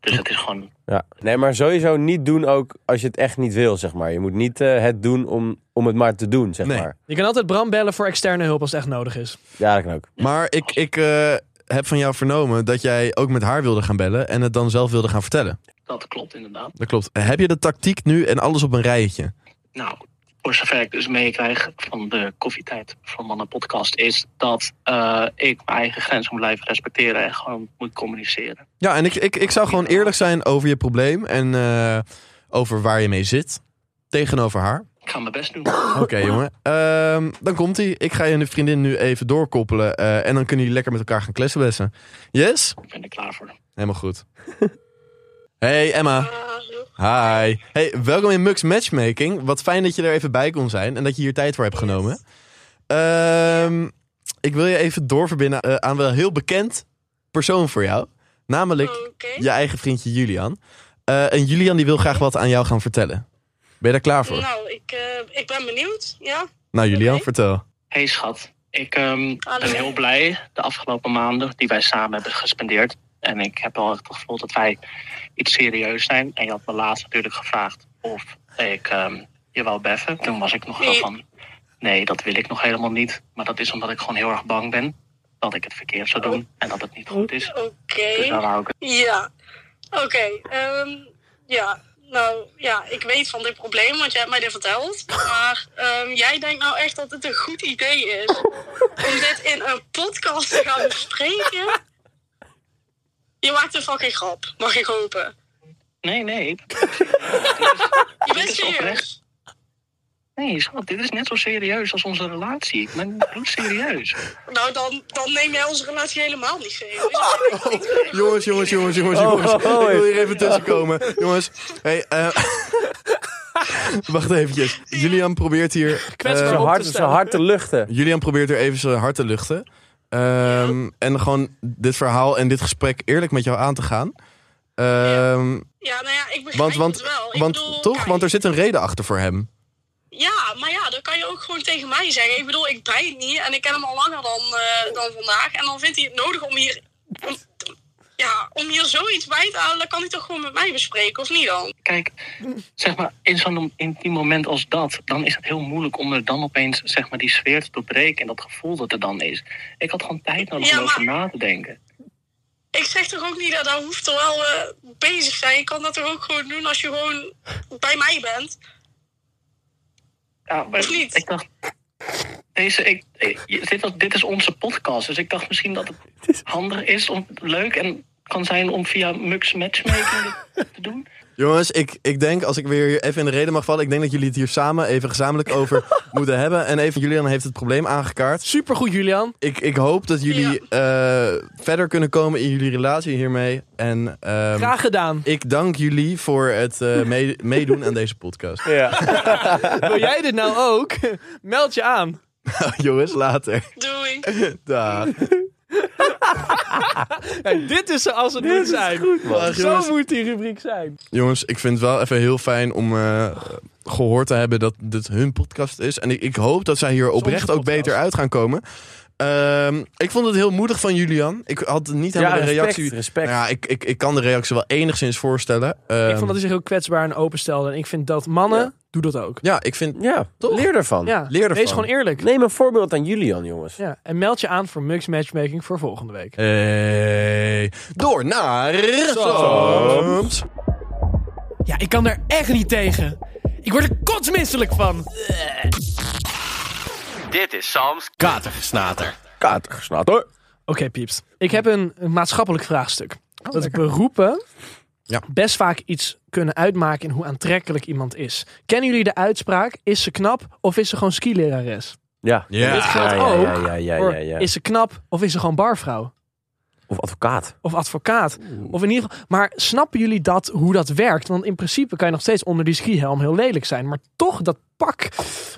S5: Dus het is gewoon...
S4: Ja. Nee, maar sowieso niet doen ook als je het echt niet wil, zeg maar. Je moet niet eh, het doen om, om het maar te doen, zeg
S1: Nee.
S4: maar.
S2: Je kan altijd Bram bellen voor externe hulp als het echt nodig is.
S4: Ja, dat kan ook.
S1: Maar ik, ik eh, heb van jou vernomen dat jij ook met haar wilde gaan bellen en het dan zelf wilde gaan vertellen.
S5: Dat klopt inderdaad.
S1: Dat klopt. Heb je de tactiek nu en alles op een rijtje?
S5: Nou, voor zover ik dus meekrijg van de koffietijd van Mannen Podcast... is dat eh, ik mijn eigen grens moet blijven respecteren... en gewoon moet communiceren.
S1: Ja, en ik, ik, ik zou gewoon eerlijk zijn over je probleem en eh, over waar je mee zit tegenover haar.
S5: Ik ga mijn best doen.
S1: Oké, jongen. Ehm, dan komt hij. Ik ga je en de vriendin nu even doorkoppelen. eh, en dan kunnen jullie lekker met elkaar gaan klessenbessen. Yes?
S5: Ik ben er klaar voor.
S1: Helemaal goed. Hey Emma. Hi. Hey, welkom in Mux Matchmaking. Wat fijn dat je er even bij kon zijn en dat je hier tijd voor hebt genomen. Ehm, ik wil je even doorverbinden eh, aan wel een heel bekend persoon voor jou. Namelijk
S6: Oh,
S1: je eigen vriendje Julian. Eh, en Julian die wil graag wat aan jou gaan vertellen. Ben je daar klaar voor?
S6: Nou, ik, eh, ik ben benieuwd. Ja.
S1: nou Julian,
S6: oké.
S1: vertel.
S5: hey, schat, ik ehm,
S6: Hallo.
S5: ben heel blij de afgelopen maanden die wij samen hebben gespendeerd. En ik heb wel echt het gevoel dat wij iets serieus zijn. En je had me laatst natuurlijk gevraagd of ik ehm, je wou beffen. Toen was ik nog wel
S6: Nee.
S5: van, nee, dat wil ik nog helemaal niet. Maar dat is omdat ik gewoon heel erg bang ben dat ik het verkeerd zou doen. En dat het niet goed is.
S6: Oké.
S5: Dus daar wou ik
S6: Ja. Oké. ehm, ja. nou ja, ik weet van dit probleem, want jij hebt mij dit verteld. Maar ehm, jij denkt nou echt dat het een goed idee is
S1: <laughs>
S6: om dit in een podcast te gaan bespreken? Je maakt een fucking grap, mag ik hopen.
S5: Nee, nee.
S6: Je bent
S5: is oprecht.
S6: serieus.
S5: Nee, schat, dit is net zo serieus als onze relatie. Ik ben bloedserieus.
S6: Nou, dan, dan neem jij onze relatie helemaal niet serieus.
S1: Oh.
S6: <laughs>
S1: Jongens, jongens, jongens, jongens,
S4: Oh,
S1: jongens.
S4: oh, oh,
S1: Ik wil hier even tussenkomen. Jongens, hey, eh, <laughs> wacht eventjes. Julian probeert hier... eh,
S2: Kwetsbaar op.
S4: Zijn
S2: te
S4: hart, zijn
S2: stellen.
S4: hart te luchten.
S2: <laughs>
S1: Julian probeert er even zijn hart te luchten. Ehm, En gewoon dit verhaal en dit gesprek eerlijk met jou aan te gaan. Ehm,
S6: Ja, nou ja, ik begrijp
S1: Want, want,
S6: het wel. Ik
S1: want
S6: bedoel,
S1: toch?
S6: kijk,
S1: Want er zit een reden achter voor hem.
S6: Ja, maar ja, dan kan je ook gewoon tegen mij zeggen. Ik bedoel, ik breid niet en ik ken hem al langer dan, eh, dan vandaag. En dan vindt hij het nodig om hier, om, ja, om hier zoiets bij te halen. Dan kan hij toch gewoon met mij bespreken, of niet dan?
S5: Kijk, zeg maar, in zo'n intiem moment als dat, dan is het heel moeilijk om er dan opeens zeg maar, die sfeer te doorbreken en dat gevoel dat er dan is. Ik had gewoon tijd nodig
S6: Ja,
S5: om over
S6: maar-
S5: na te denken.
S6: Ik zeg toch ook niet dat dat hoeft toch wel eh, bezig zijn. Je kan dat toch ook gewoon doen als je gewoon bij mij bent.
S5: Ja, maar
S6: Of niet?
S5: ik dacht. Deze, ik, ik- dit, was- dit is onze podcast, dus ik dacht misschien dat <laughs> het handig is, om, leuk en kan zijn om via Mux <laughs> Matchmaking dit te doen.
S1: Jongens, ik, ik denk, als ik weer even in de reden mag vallen, ik denk dat jullie het hier samen even gezamenlijk
S6: <laughs>
S1: over moeten hebben. En even, Julian heeft het probleem aangekaart.
S2: Supergoed, Julian.
S1: Ik, ik hoop dat jullie eh, verder kunnen komen in jullie relatie hiermee. En ehm,
S2: Graag gedaan.
S1: ik dank jullie voor het
S2: <laughs>
S1: eh, mee- meedoen aan deze podcast.
S4: Ja.
S2: Wil jij dit nou ook? <laughs> Meld je aan.
S1: Nou, jongens, later.
S6: Doei.
S1: <laughs> Dag.
S2: Kijk, dit is zoals het moet zijn.
S1: Dag, jongens.
S2: Zo moet die rubriek
S1: Ehm.
S2: zijn.
S1: Jongens, ik vind het wel even heel fijn om eh, gehoord te hebben dat dit hun podcast is. En ik, ik hoop dat zij hier oprecht ook
S2: podcast.
S1: beter uit gaan komen. Ehm, ik vond het heel moedig van Julian. Ik had niet helemaal de
S4: respect,
S1: reactie.
S4: respect.
S1: Nou ja, ik, ik, ik kan de reactie wel enigszins voorstellen. Ehm,
S2: ik vond dat hij zich heel kwetsbaar en openstelde. En ik vind dat mannen, doe dat ook.
S1: Ja, ik vind.
S4: Ja,
S1: Toch?
S4: leer ervan.
S2: Ja,
S1: Leer ervan.
S2: wees gewoon eerlijk.
S4: Neem een voorbeeld aan Julian, jongens.
S2: Ja, en meld je aan voor Mux Matchmaking voor volgende week.
S1: Eh. Hey, Eh, door naar. Soms.
S2: Ja, ik kan daar echt niet tegen. Ik word er kotsmisselijk van.
S7: Dit is Sam's Katergesnater.
S4: Kater gesnapt hoor.
S2: Oké, pieps. Ik heb een, een maatschappelijk vraagstuk. dat beroepen
S1: Ja.
S2: best vaak iets kunnen uitmaken in hoe aantrekkelijk iemand is. Kennen jullie de uitspraak, is ze knap of is ze gewoon skilerares?
S4: Ja.
S1: Ja. Dit
S2: geldt
S4: ja,
S2: ook
S4: Ja, ja, ja, ja,
S2: Voor,
S4: ja.
S2: Is ze knap of is ze gewoon barvrouw?
S4: Of advocaat.
S2: Of advocaat? Of in ieder geval... Maar snappen jullie dat, hoe dat werkt? Want in principe kan je nog steeds onder die skihelm heel lelijk zijn. Maar toch, dat pak,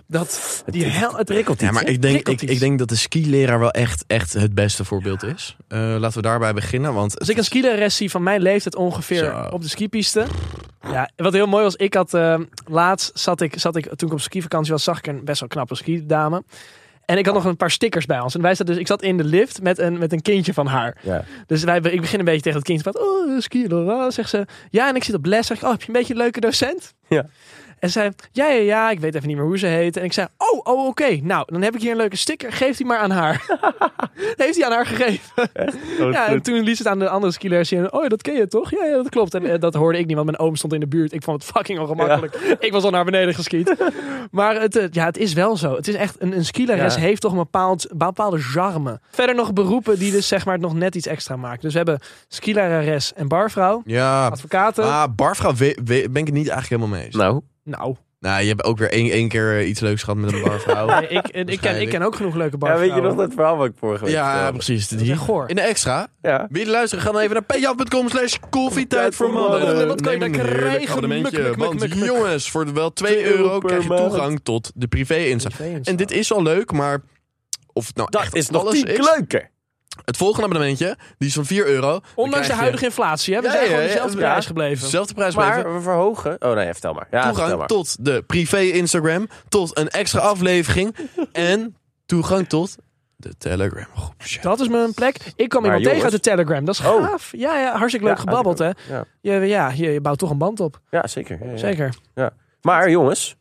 S2: dat, die hel, het rikkelt
S1: Ja,
S2: iets,
S1: maar
S2: hè?
S1: ik denk, ik,
S2: Prikkelt
S1: ik
S2: iets.
S1: denk dat de skileraar wel echt, echt het beste voorbeeld is. Eh, laten we daarbij beginnen. Want
S2: Als ik een skileres zie van mijn leeftijd ongeveer
S1: Zo.
S2: op de skipiste. Ja, wat heel mooi was, ik had eh, laatst zat ik, zat ik, toen ik op skivakantie was, zag ik een best wel knappe skidame. En ik had nog een paar stickers bij ons. En wij zaten dus, ik zat in de lift met een, met een kindje van haar.
S4: Ja.
S2: Dus wij, ik begin een beetje tegen het kindje. Van, oh, skileraar, zegt ze. Ja, en ik zit op les. Zeg ik, oh, heb je een beetje een leuke docent?
S4: Ja.
S2: En zij, ja, ja, ja, ik weet even niet meer hoe ze heet. En ik zei, oh, oh, oké. Nou, dan heb ik hier een leuke sticker. Geef die maar aan haar. <laughs> Heeft hij aan haar gegeven. Ja, en toen liet ze het aan de andere skilers zien. Oh, dat ken je toch? Ja, ja dat klopt. En eh, dat hoorde ik niet, want mijn oom stond in de buurt. Ik vond het fucking ongemakkelijk. Ik was al naar
S4: <laughs>
S2: beneden geschiet. Maar het, eh, ja, het is wel zo. Het is echt, een, een skileres
S4: Ja.
S2: heeft toch een bepaald, bepaalde charme. Verder nog beroepen die dus zeg maar het nog net iets extra maken. Dus we hebben skileres en barvrouw.
S1: ja.
S2: Advocaten.
S1: Ah, barvrouw we- we- ben ik het niet eigenlijk helemaal mee eens.
S4: Nou,
S2: Nou,
S1: Nou, je hebt ook weer één, één keer eh, iets leuks gehad met een barvrouw.
S2: <laughs> nee, ik, en ik, ken, ik ken ook genoeg leuke
S4: ja,
S2: barvrouwen.
S4: weet je nog dat verhaal wat ik vorige week
S1: ja,
S4: vertelde?
S1: precies.
S2: is
S1: Die.
S2: echt goor.
S1: In de extra.
S4: Ja.
S1: Wil je luisteren? Ga dan even naar payaf.com slash koffietijd voor mannen.
S2: Wat kan je
S1: Neem
S2: daar
S1: een heerlijk
S2: krijgen?
S1: abonnementje,
S2: Muk, muk, muk,
S1: want
S2: muk, muk.
S1: jongens, voor wel 2 euro
S4: per
S1: krijg je
S4: maand.
S1: toegang tot de privé-insta.
S2: Privé-insta.
S1: En dit is al leuk, maar of het nou
S4: Dat
S1: echt
S4: is nog
S1: alles
S4: tien
S1: is.
S4: keer leuker.
S1: Het volgende abonnementje, die is van 4 euro.
S2: Ondanks de
S1: Dan krijg je
S2: huidige inflatie, hè? We
S1: Ja,
S2: zijn
S1: ja,
S2: gewoon
S1: ja,
S2: dezelfde
S1: ja.
S2: prijs gebleven.
S1: Zelfde prijs blijven.
S4: Maar we verhogen... Oh nee, vertel maar. Ja, vertel
S1: toegang
S4: maar.
S1: tot de privé-Instagram, tot een extra
S2: <laughs>
S1: aflevering en toegang tot de Telegram. Oh, groepje.
S2: Dat is mijn plek. Ik kwam
S4: Maar
S2: iemand tegen uit
S4: jongens-
S2: de Telegram. Dat is
S4: Oh.
S2: gaaf. Ja, ja, hartstikke leuk
S4: Ja,
S2: gebabbeld, hè?
S4: Ja,
S2: Je, ja, je, je bouwt toch een band op.
S4: ja zeker. Ja, ja.
S2: Zeker.
S4: Maar jongens,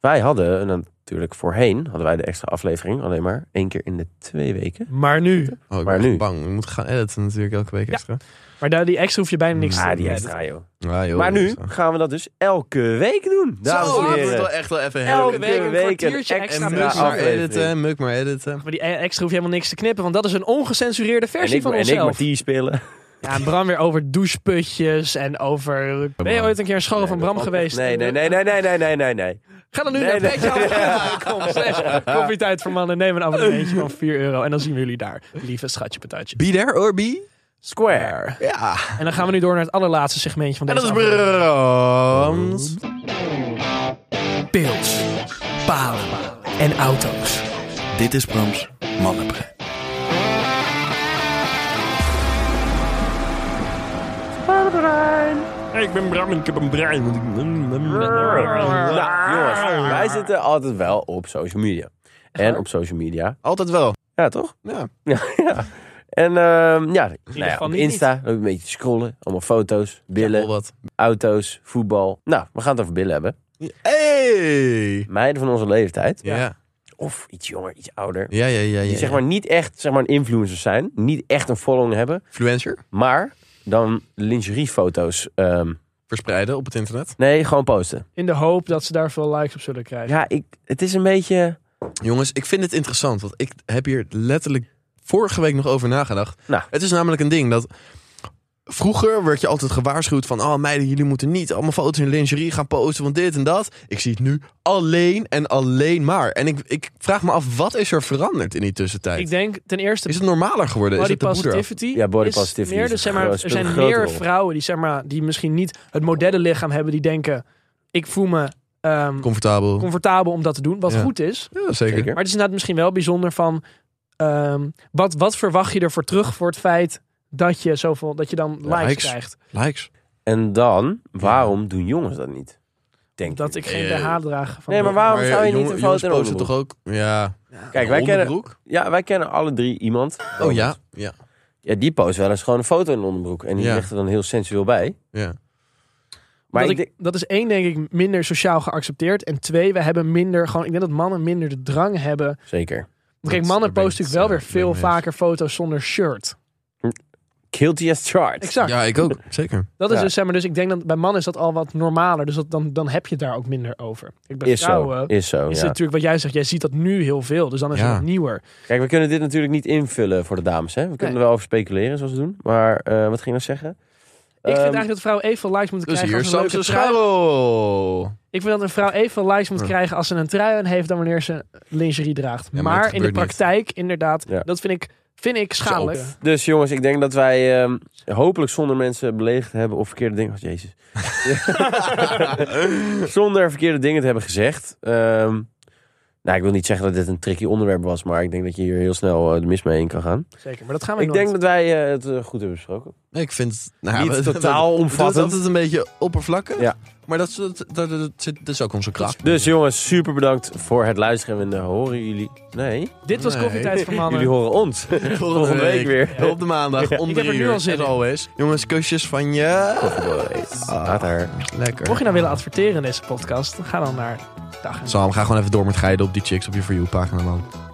S4: wij hadden een Natuurlijk, voorheen hadden wij de extra aflevering alleen maar één keer in de twee weken.
S2: Maar nu.
S1: Oh, ik
S4: Maar
S1: ben
S4: nu?
S1: echt bang. We moeten gaan editen natuurlijk elke week
S2: Ja.
S1: extra.
S2: Maar daar, die extra hoef je bijna niks
S4: Ah, die
S2: Ja,
S4: extra, joh.
S1: Ja, joh,
S4: Maar nu
S1: extra.
S4: gaan we dat dus elke week doen. Dames
S1: Zo,
S4: en
S1: dat wordt wel
S4: heren.
S1: echt wel even heel
S4: Elke
S2: week een
S4: week een
S2: kwartiertje
S1: En
S2: extra
S4: extra
S1: muk
S2: Ja,
S1: maar
S4: aflevering.
S1: editen, muk maar editen.
S2: Maar die e- extra hoef je helemaal niks te knippen, want dat is een ongecensureerde
S4: En
S2: versie
S4: ik,
S2: van
S4: en ik
S2: onszelf.
S4: mag die spelen.
S2: Ja, en Bram weer over doucheputjes en over... Ben je ooit een keer een school van Bram geweest?
S4: Nee, nee, nee, nee, nee, nee, nee, nee, nee.
S2: Ga dan nu
S4: Nee,
S2: naar
S4: nee. <laughs>
S2: petjeaf.com. slash Koffietijd voor mannen. Neem een abonnementje van 4 euro. En dan zien we jullie daar. Lieve schatje patatje.
S1: Be there or be?
S4: Square.
S1: Ja.
S2: En dan gaan we nu door naar het allerlaatste segmentje van
S1: En
S2: deze
S1: dat is
S2: aflevering.
S1: Brams.
S2: pils, palen en auto's.
S8: Dit is Brams Mannenbrein.
S2: Ik ben Bram en ik heb een brein.
S4: Nou, jongens, wij zitten altijd wel op social media. En op social media.
S1: Altijd wel.
S4: Ja, toch? <laughs>
S1: Ja.
S4: Ja, ja. En ehm, ja, nou ja,
S2: geval
S4: op
S2: niet
S4: Insta loop ik een beetje te scrollen. Allemaal foto's, billen,
S1: Wel wat.
S4: auto's, voetbal. Nou, we gaan het over billen hebben.
S1: Hey!
S4: Meiden van onze leeftijd.
S1: Ja. Ja,
S4: Of iets jonger, iets ouder.
S1: ja, ja. ja,
S4: Die
S1: ja.
S4: zeg maar niet echt zeg maar, een influencer zijn. Niet echt een following hebben.
S1: Influencer.
S4: Maar dan lingeriefoto's. ehm,
S1: Verspreiden op het internet.
S4: nee, gewoon posten.
S2: In de hoop dat ze daar veel likes op zullen krijgen.
S4: Ja, ik, het is een beetje...
S1: Jongens, ik vind het interessant, want ik heb hier letterlijk vorige week nog over nagedacht.
S4: Nou.
S1: Het is namelijk een ding dat vroeger werd je altijd gewaarschuwd van, oh meiden, jullie moeten niet allemaal foto's in lingerie gaan posten, want dit en dat. Ik zie het nu alleen en alleen maar. En ik, ik vraag me af, wat is er veranderd in die tussentijd?
S2: Ik denk ten eerste
S1: is het normaler geworden? Is
S2: body
S1: het de boeder?
S2: positivity.
S4: Ja, body
S2: is
S4: positivity
S2: Meer,
S4: is
S2: dus
S4: een
S2: zeg maar,
S4: groot-
S2: er
S4: speelt een
S2: zijn
S4: grote
S2: meer
S4: rol.
S2: vrouwen die, zeg maar, die misschien niet het modellenlichaam hebben. Die denken, ik voel me ehm,
S1: Comfortabel.
S2: comfortabel om dat te doen. Wat
S1: Ja.
S2: goed is.
S1: ja, zeker.
S4: Zeker.
S2: Maar het is inderdaad misschien wel bijzonder van... ehm, wat, wat verwacht je ervoor terug voor het feit dat je, zoveel, dat je dan likes,
S1: Likes.
S2: krijgt?
S1: Likes.
S4: En dan, waarom doen jongens dat niet? Denk
S2: Dat ik geen
S1: Eh,
S2: BH draag. Van
S4: Nee, maar waarom zou je
S1: jongen-
S4: niet een
S1: jongens
S4: foto in een
S1: posten
S4: onderbroek?
S1: toch ook? Ja.
S4: Kijk, wij kennen,
S1: Onderbroek?
S4: ja, wij kennen alle drie iemand.
S1: Oh ja. Ja.
S4: Ja, die post wel eens gewoon een foto in een onderbroek. En die
S1: Ja.
S4: ligt er dan heel sensueel bij.
S1: Ja.
S4: Maar
S2: dat,
S4: ik
S2: ik,
S4: denk,
S2: dat is één, denk ik, minder sociaal geaccepteerd. En twee, we hebben minder gewoon. Ik denk dat mannen minder de drang hebben.
S4: zeker.
S2: Want kijk,
S1: Dat-
S2: mannen
S1: daar ben ik
S2: posten
S1: het,
S2: natuurlijk
S1: eh,
S2: wel weer veel
S1: mee eens.
S2: vaker foto's zonder shirt.
S4: Guilty as charged.
S2: Exact.
S1: ja, ik ook. Zeker.
S2: Dat is
S4: Ja.
S2: dus, zeg maar, dus ik denk dat bij mannen is dat al wat normaler. Dus dat, dan, dan heb je het daar ook minder over. Ik ben
S4: Is
S2: vrouwen.
S4: zo, is zo,
S2: Is
S4: ja.
S2: het natuurlijk wat jij zegt, jij ziet dat nu heel veel, dus dan is
S1: Ja.
S2: het nog nieuwer.
S4: Kijk, we kunnen dit natuurlijk niet invullen voor de dames, hè. We kunnen er wel over speculeren, zoals we doen. Maar eh, wat ging ik nou zeggen?
S2: Ik
S4: Ehm,
S2: vind eigenlijk dat vrouwen evenveel likes moeten
S1: Dus
S2: krijgen
S1: hier
S2: als een
S1: staat
S2: leuke
S1: de
S2: trui.
S1: scharrel.
S2: Ik vind dat een vrouw evenveel likes moet
S1: Ja.
S2: krijgen als ze een trui aan heeft dan wanneer ze lingerie draagt.
S1: maar
S2: maar
S1: dat
S2: in de
S1: gebeurt niet.
S2: praktijk, inderdaad,
S4: Ja.
S2: dat vind ik, vind ik schadelijk.
S4: Dus jongens, ik denk dat wij ehm, hopelijk zonder mensen beledigd hebben of verkeerde dingen... Oh, jezus. zonder verkeerde dingen te hebben gezegd. Ehm, nou, ik wil niet zeggen dat dit een tricky onderwerp was, maar ik denk dat je hier heel snel eh, de mis mee heen kan gaan.
S2: Zeker, maar dat gaan we
S4: Ik
S2: nooit.
S4: denk dat wij eh, het eh, goed hebben besproken.
S1: Ik vind het nou,
S4: Niet
S1: we- we-
S4: totaal
S1: we-
S4: omvattend.
S1: Dat het een beetje oppervlakkig.
S4: Ja.
S1: Maar dat, is- dat, dat, dat, zit- dat is ook onze
S4: <laughs>
S1: kracht.
S4: Dus jongens, super bedankt voor het luisteren. En eh, horen jullie... Nee,
S2: Dit was
S1: Nee.
S2: Koffietijd voor Mannen.
S4: jullie horen ons. Volgende week weer.
S1: Op de maandag om
S2: Ik heb er
S1: drie
S2: nu
S1: uur,
S2: al zin
S1: as
S2: in.
S1: always. Jongens, kusjes van je.
S4: Later.
S1: Lekker.
S2: Mocht je nou willen adverteren in deze podcast, dan ga dan naar Dag en
S1: Sam, ga gewoon even door met geiden op die chicks op je For You-pagina, man.